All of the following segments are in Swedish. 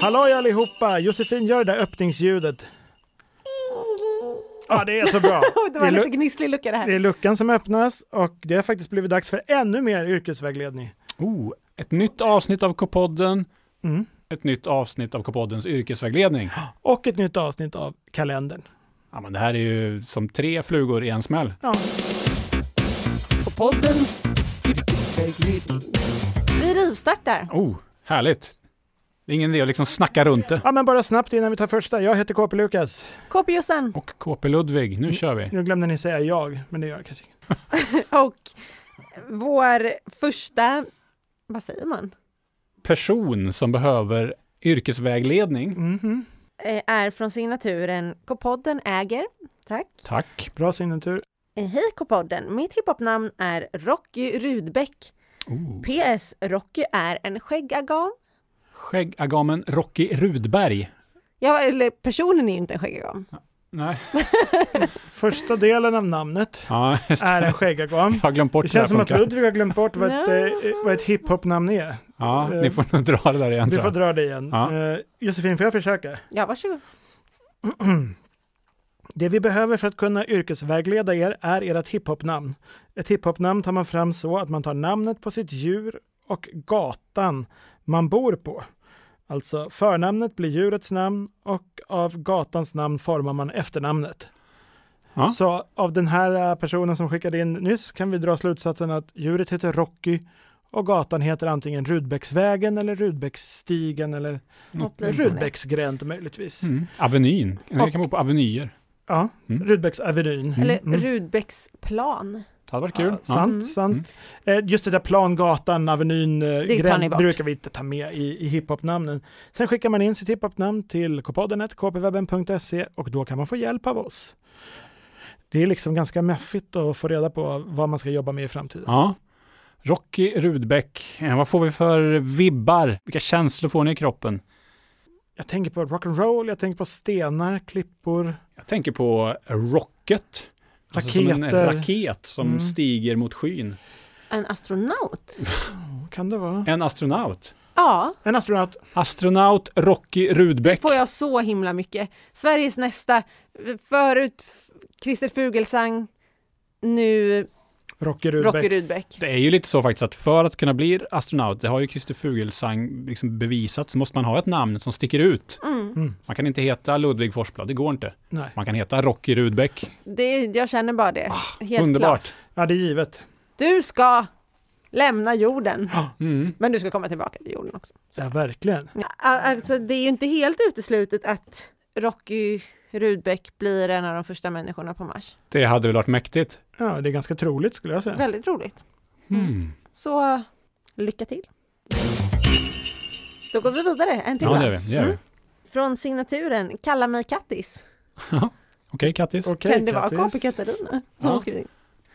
Halloj allihopa! Josefin, gör det där öppningsljudet. Ja, det är så bra. Det Det var är en lu- lite gnisslig lucka det här. Det är luckan som öppnas och det har faktiskt blivit dags för ännu mer yrkesvägledning. Oh, ett nytt avsnitt av K-podden. Mm. Ett nytt avsnitt av K-poddens yrkesvägledning. Och ett nytt avsnitt av kalendern. Ja, men det här är ju som tre flugor i en smäll. Ja. poddens yrkesvägledning. Vi rivstartar. Oh, härligt. Det är ingen idé att liksom snacka runt det. ja, men bara snabbt innan vi tar första. Jag heter KP Lukas. Kopiosen Och KP Ludvig, Mm. nu kör vi. Nu glömde ni säga jag, men det gör jag kanske inte. och vår första, vad säger man, Person som behöver yrkesvägledning. Mhm. Eh, är från signaturen K-podden äger. Tack. Tack. Bra signatur. Eh, Hej K-podden, mitt hiphopnamn är Rocky Rudbeck. Oh. PS Rocky är en skäggagam. Skäggagamen Rocky Rudberg. Ja, eller personen är ju inte en skäggagam. Nej, Första delen av namnet ja, just det. är en skäggagam. jag har glömt bort Det hur känns som att funkar. Ludvig har glömt bort vad ett, eh, vad ett hiphop-namn är. Ja, ni får nog dra det där igen Vi tror får jag. dra det igen. Ja. Eh, Josefin, får jag försöka? Ja, varsågod. Det vi behöver för att kunna yrkesvägleda er är ert hiphopnamn. Ett hiphopnamn tar man fram så att man tar namnet på sitt djur och gatan man bor på. Alltså förnamnet blir djurets namn och av gatans namn formar man efternamnet. Ja. Så av den här eh, personen som skickade in nyss kan vi dra slutsatsen att djuret heter Rocky och gatan heter antingen Rudbecksvägen eller Rudbecksstigen eller Något Mm. liknande. Rudbecksgränd möjligtvis. Mm. Avenyn. Det Och- kan bo på avenyer. Ja, Mm. Rudbecksavenyn. Eller Mm. Rudbecks plan. Det hade varit kul. Mm. Ja, Ja. sant, sant. Eh, Just det där plangatan, avenyn, eh, tar ni gränd bort. brukar vi inte ta med i, i hiphopnamnen. Sen skickar man in sitt hiphopnamn till kpoddenet, kpwebben.se och då kan man få hjälp av oss. Det är liksom ganska mäffigt att få reda på vad man ska jobba med i framtiden. Ja. Rocky Rudbeck, eh, vad får vi för vibbar? Vilka känslor får ni i kroppen? Jag tänker på rock'n'roll, jag tänker på stenar, klippor. Jag tänker på rocket. Alltså som en Raketer. raket som Mm. stiger mot skyn. En astronaut? Vad kan det vara? En astronaut. Ja, En astronaut. Astronaut Rocky Rudbeck. får jag så himla mycket. Sveriges nästa, förut F- Christer Fuglesang, nu Rocky Rocky Rudbeck. Rudbeck. Det är ju lite så faktiskt att för att kunna bli astronaut, det har ju Christer Fuglesang liksom bevisat, så måste man ha ett namn som sticker ut. Mm. Man kan inte heta Ludvig Forsblad, det går inte. Nej, Man kan heta Rocky Rudbeck. Det, jag känner bara det. Helt klart. Ah, Underbart. ja, det är givet. Du ska lämna jorden, Mm. men du ska komma tillbaka till jorden också. Ja, verkligen. Ja, Alltså, det är ju inte helt uteslutet att Rocky Rudbeck blir en av de första människorna på Mars. Det hade väl varit mäktigt. Ja, det är ganska troligt skulle jag säga. Väldigt roligt. Mm. Så lycka till. Då går vi vidare, en till Ja, va? det gör vi. Det gör vi. Mm. Från signaturen Kalla mig Kattis. Okej, Kattis. Okej, kan det vara Kattis. KP Katarina som Ja. har skrivit in?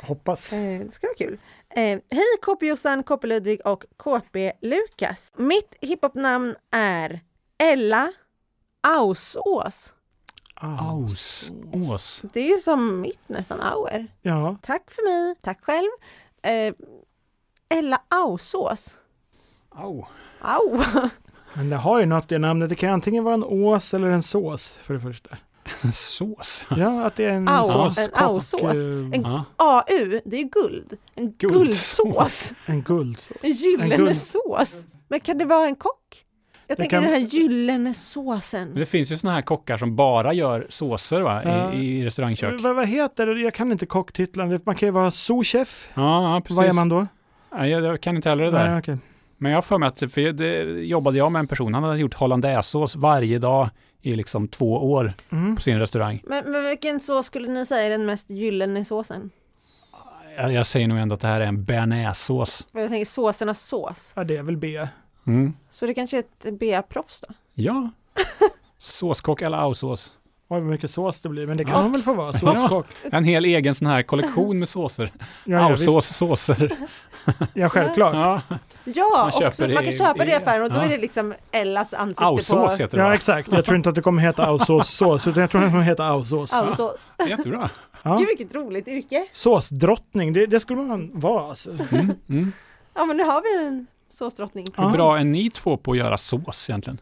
Hoppas. Eh, det ska vara kul. Eh, Hej KP Jossan, KP Ludvig och KP Lukas. Mitt hiphopnamn är Ella Ausås. Ah. Aus. Ås. Det är ju som mitt nästan, Auer. Ja, Tack för mig, tack själv. Eh, Ella Ausås. Au. Au! men det har ju något i namnet. Det kan antingen vara en ås eller en sås för det första. En sås. Ja, att det är en Au, en såskock. ausås. eh, En- Ja. AU, det är guld. En Guldsås. guldsås. En guld. En gyllene En guld- sås. Men kan det vara en kock? Jag tänker kan- den här gyllene såsen. Men det finns ju såna här kockar som bara gör såser va? Ja. I, i restaurangkök. Vad, vad heter det? Jag kan inte kocktitlarna. Man kan ju vara souschef. Ja, ja, precis. Vad är man då? Nej, jag, jag kan inte heller det där. Nej, okej. Men jag har för mig att, för jag- det jobbade jag med en person, han hade gjort hollandaisesås varje dag i liksom två år Mm. på sin restaurang. Men, men vilken sås skulle ni säga är den mest gyllene såsen? Jag, jag säger nog ändå att det här är en bearnaisesås. För Jag tänker såsernas sås. Ja, det är väl B. Mm. Så det kanske är ett BA-proffs då? Ja. Såskock eller ausås. Oj, vad mycket sås det blir. Men det kan Ja. man väl få vara? Såskock. En hel egen sån här kollektion med såser. Ja, ja, visst. Ausås, såser. ja självklart. Ja. Ja, Man och så köper man i- kan köpa det i i- affären och då ja. är det liksom Ellas ansikte Ausås på... heter det Ja, va? exakt. Jag tror inte att det kommer heta aussås-sås, utan jag tror att det kommer heta aussås. Ausås. Jättebra. Ja. Gud vilket roligt yrke! Såsdrottning, det, det skulle man vara alltså. Mm, mm. Ja men nu har vi en såsdrottning. Hur Ja. bra är ni två på att göra sås egentligen?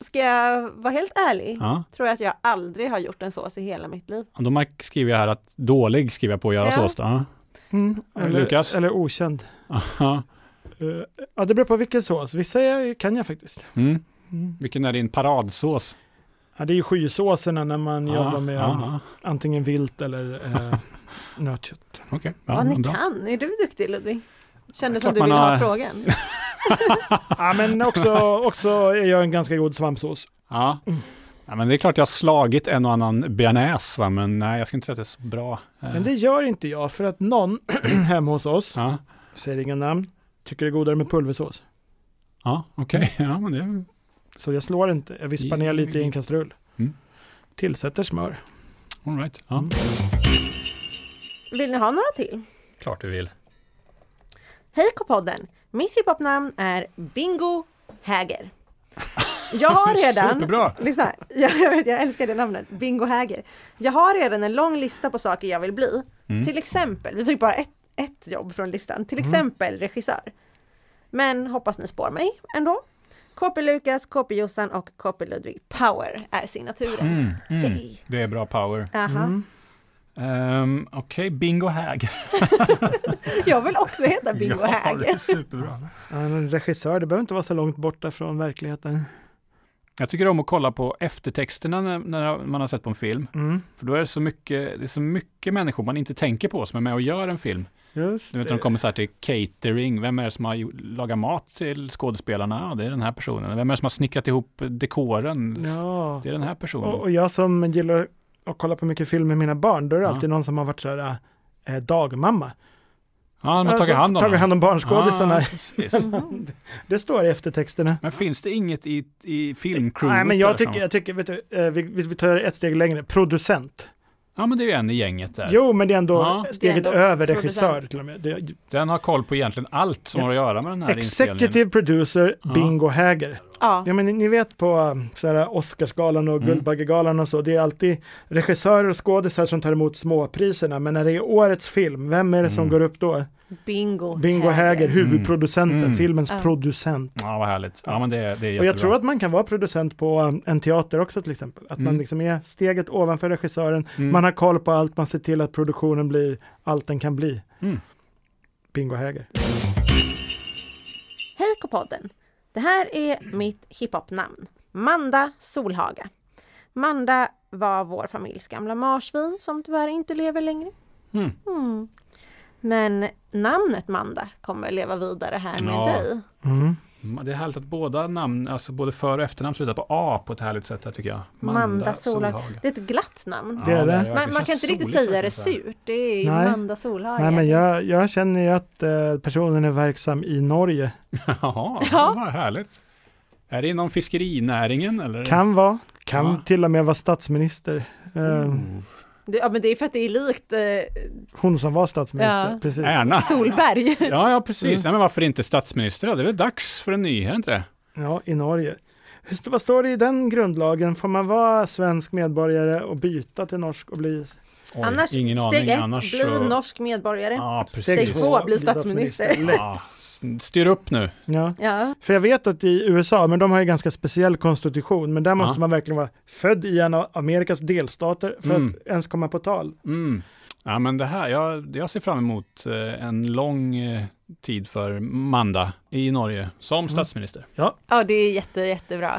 ska jag vara helt ärlig, Ja. tror jag att jag aldrig har gjort en sås i hela mitt liv. Och Då mark- skriver jag här att dålig skriver jag på att göra Ja. sås då. Ja. Mm. Eller, Lukas? eller okänd. Aha. Eh, ja, det beror på vilken sås. Vissa är- kan jag faktiskt. Mm. Mm. Vilken är din paradsås? Ja, det är ju skysåserna när man jobbar Ja, med ja, antingen vilt eller eh, nötkött. ja. Okej. Ja, Vad ni bra. kan, är du duktig Ludvig? Kändes Ja, som klart du man ville ha har- frågan. ja, men också, också är jag en ganska god svampsås. Ja. ja, men det är klart jag har slagit en och annan bearnaise, va? men nej, jag ska inte säga att det är så bra. Eh, Men det gör inte jag för att någon hemma hos oss, Ja, säger inga namn, tycker det är godare med pulversås. ja okej. Ja, men det... Så jag slår inte, jag vispar ner lite i en kastrull. Mm. Tillsätter smör. All right. Ja. Mm. Vill ni ha några till? Klart du vill. Hej K-podden! Mitt hiphopnamn är Bingo Häger. Jag har redan Superbra. Lyssna, jag, jag, vet, jag älskar det namnet, Bingo Häger. Jag har redan en lång lista på saker jag vill bli. Mm. Till exempel, vi fick bara ett, ett jobb från listan, till exempel regissör. Men hoppas ni spår mig ändå. KP Lukas, KP Jossan och KP Ludvig Power är signaturen. Mm, mm. Yay. Det är bra power. Aha. Ehm, Okej, bingo hag. Jag vill också heta Bingo ja, det Häger. är superbra. Ja, En regissör, det behöver inte vara så långt borta från verkligheten. Jag tycker om att kolla på eftertexterna när, när man har sett på en film. Mm. För då är det så mycket, det är så mycket människor man inte tänker på som är med och gör en film. Just Du vet, de kommer så här till catering. Vem är det som har gjort- lagat mat till skådespelarna? Ja, det är den här personen. Vem är det som har snickrat ihop dekoren? Ja. Det är den här personen. Och, och jag som gillar att kolla på mycket film med mina barn, då är det Ja. alltid någon som har varit sådär eh, dagmamma. ja, de har tagit hand om Alltså, Ah. tagit hand om barnskådisarna. Ja, precis. Det står i eftertexterna. Men finns det inget i, i filmcrewet? Nej, men jag där tycker, som- jag tycker vet du, eh, vi, vi vi tar ett steg längre, producent. Ja, men det är ju en i gänget där. Jo, men det är ändå Ja. steget Det är ändå över producent. regissör till och med. Det, Den har koll på egentligen allt som Ja. har att göra med den här inspelningen. executive producer Ja. Bingo Häger. Ja, Ja, men ni- ni vet på um, så här, Oscarsgalan och Mm. Guldbaggegalan och så, det är alltid regissörer och skådisar som tar emot småpriserna, men när det är årets film, vem är det som Mm. går upp då? Bingo, Bingo Häger, huvudproducenten, Mm. filmens Ja. producent. Ja, vad härligt. Ja, men det, är- det är jättebra. Och jag tror att man kan vara producent på um, en teater också till exempel. Att man Mm. liksom är steget ovanför regissören, Mm. man har koll på allt, man ser till att produktionen blir allt den kan bli. Mm. Bingo Häger. Hej K-podden! Det här är mitt hiphopnamn. Manda Solhaga. Manda var vår familjs gamla marsvin som tyvärr inte lever längre. Mm. Mm. Men namnet Manda kommer leva vidare här med Ja. dig. Mm. Mm, Det är härligt att båda namn, alltså både för och efternamn slutar på A på ett härligt sätt här tycker jag. Manda, Solhaga. Det är ett glatt namn. Ja, Det är det. verkligen. man, man Känns kan inte riktigt soligt alltså. säga det faktiskt, här. surt. Det är ju Nej. Manda Solhaga. Nej, men jag, jag känner ju att eh, personen är verksam i Norge. Mm. Jaha, Ja. ja. vad härligt. Är det inom fiskerinäringen eller? Kan vara, kan Ja. till och med vara statsminister. Eh, Mm. Mm. Det- Ja, men det är för att det är likt eh, Hon som var statsminister, Ja. precis. Mm. Ärna. Solberg. Ja, ja precis. Nej, men varför inte statsminister? då? Det är väl dags för en ny, är det inte det? Ja, i Norge. Hur st- Vad står det i den grundlagen? Får man vara svensk medborgare och byta till norsk och bli... Oj, annars, ingen steg aning. ett, annars bli så... norsk medborgare. Ja. Ja, Steg precis. två. bli statsminister. Lätt. Ja, s- styr upp nu. Ja. För jag vet att i USA, men de har ju ganska speciell konstitution, men där måste Ja. man verkligen vara född i en av Amerikas delstater för Mm. att ens komma på tal. Mm. Ja, men det här, jag, jag ser fram emot eh, en lång eh, tid för Manda i Norge som statsminister. ja, det är jätte, jättebra.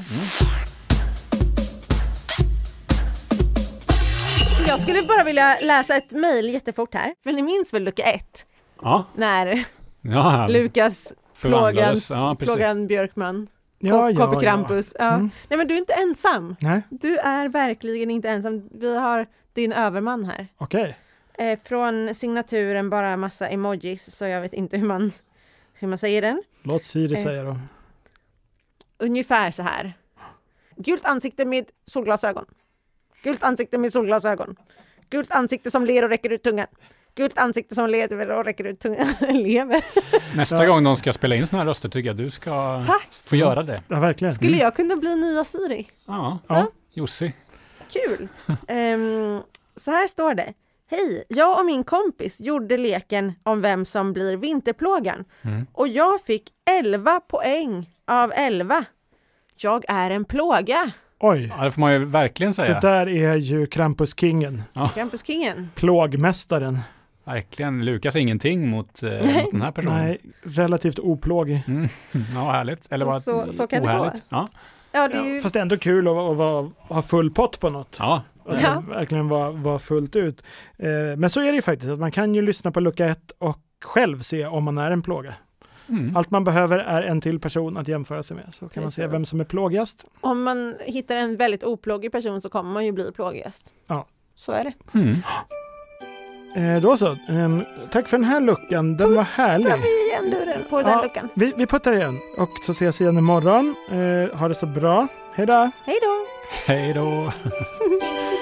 Jag skulle bara vilja läsa ett mejl jättefort här. För ni minns väl lucka ett? Ja, När ja han Lukas förvandlades. Ja, precis. Plågan Björkman, Ja, ja, KP Krampus. Ja. Mm. Nej men du är inte ensam. Nej, Du är verkligen inte ensam. Vi har din överman här. okej. Eh, från signaturen bara massa emojis så jag vet inte hur man, hur man säger den. Låt Siri Eh. säga då. Ungefär så här. Gult ansikte med solglasögon. Gult ansikte med solglasögon. Gult ansikte som ler och räcker ut tungan. Gult ansikte som lever och räcker ut tungan. lever. Nästa gång de ska spela in sådana här röster tycker jag du ska Tack! få göra det. Ja, verkligen. Mm. Skulle jag kunna bli nya Siri? Ja, Ja. Jussi. Kul! Ehm, så här står det. Hej! Jag och min kompis gjorde leken om vem som blir vinterplågan och jag fick 11 poäng av 11. Jag är en plåga. Oj, Ja, det får man ju verkligen det säga. där är ju Krampuskingen, Krampuskingen. plågmästaren. Verkligen. Lukas är ingenting mot, eh, Nej. mot den här personen. Nej, relativt oplågig. Mm. Ja, härligt. Eller Så- bara så- så kan det ohärligt. Ja. Ja, det är ju... Fast det är ändå kul att, att, vara- ha full pott på något. ja. Att Ja. det Eh, verkligen vara vara fullt ut. Eh, Men så är det ju faktiskt, att man kan ju lyssna på lucka ett och själv se om man är en plåga. Mm. Allt man behöver är en till person att jämföra sig med, så kan man se Precis. vem som är plågigast. Om man hittar en väldigt oplågig person så kommer man ju bli plågigast. Ja. Så är det. Mm. Eh, Då så, Ehm, tack för den här luckan, den var härlig. Tar vi igen luren på den Ja. luckan. Vi, vi puttar igen och så ses igen imorgon. Eh, ha det så bra. Hej då! Hej då! Hej då.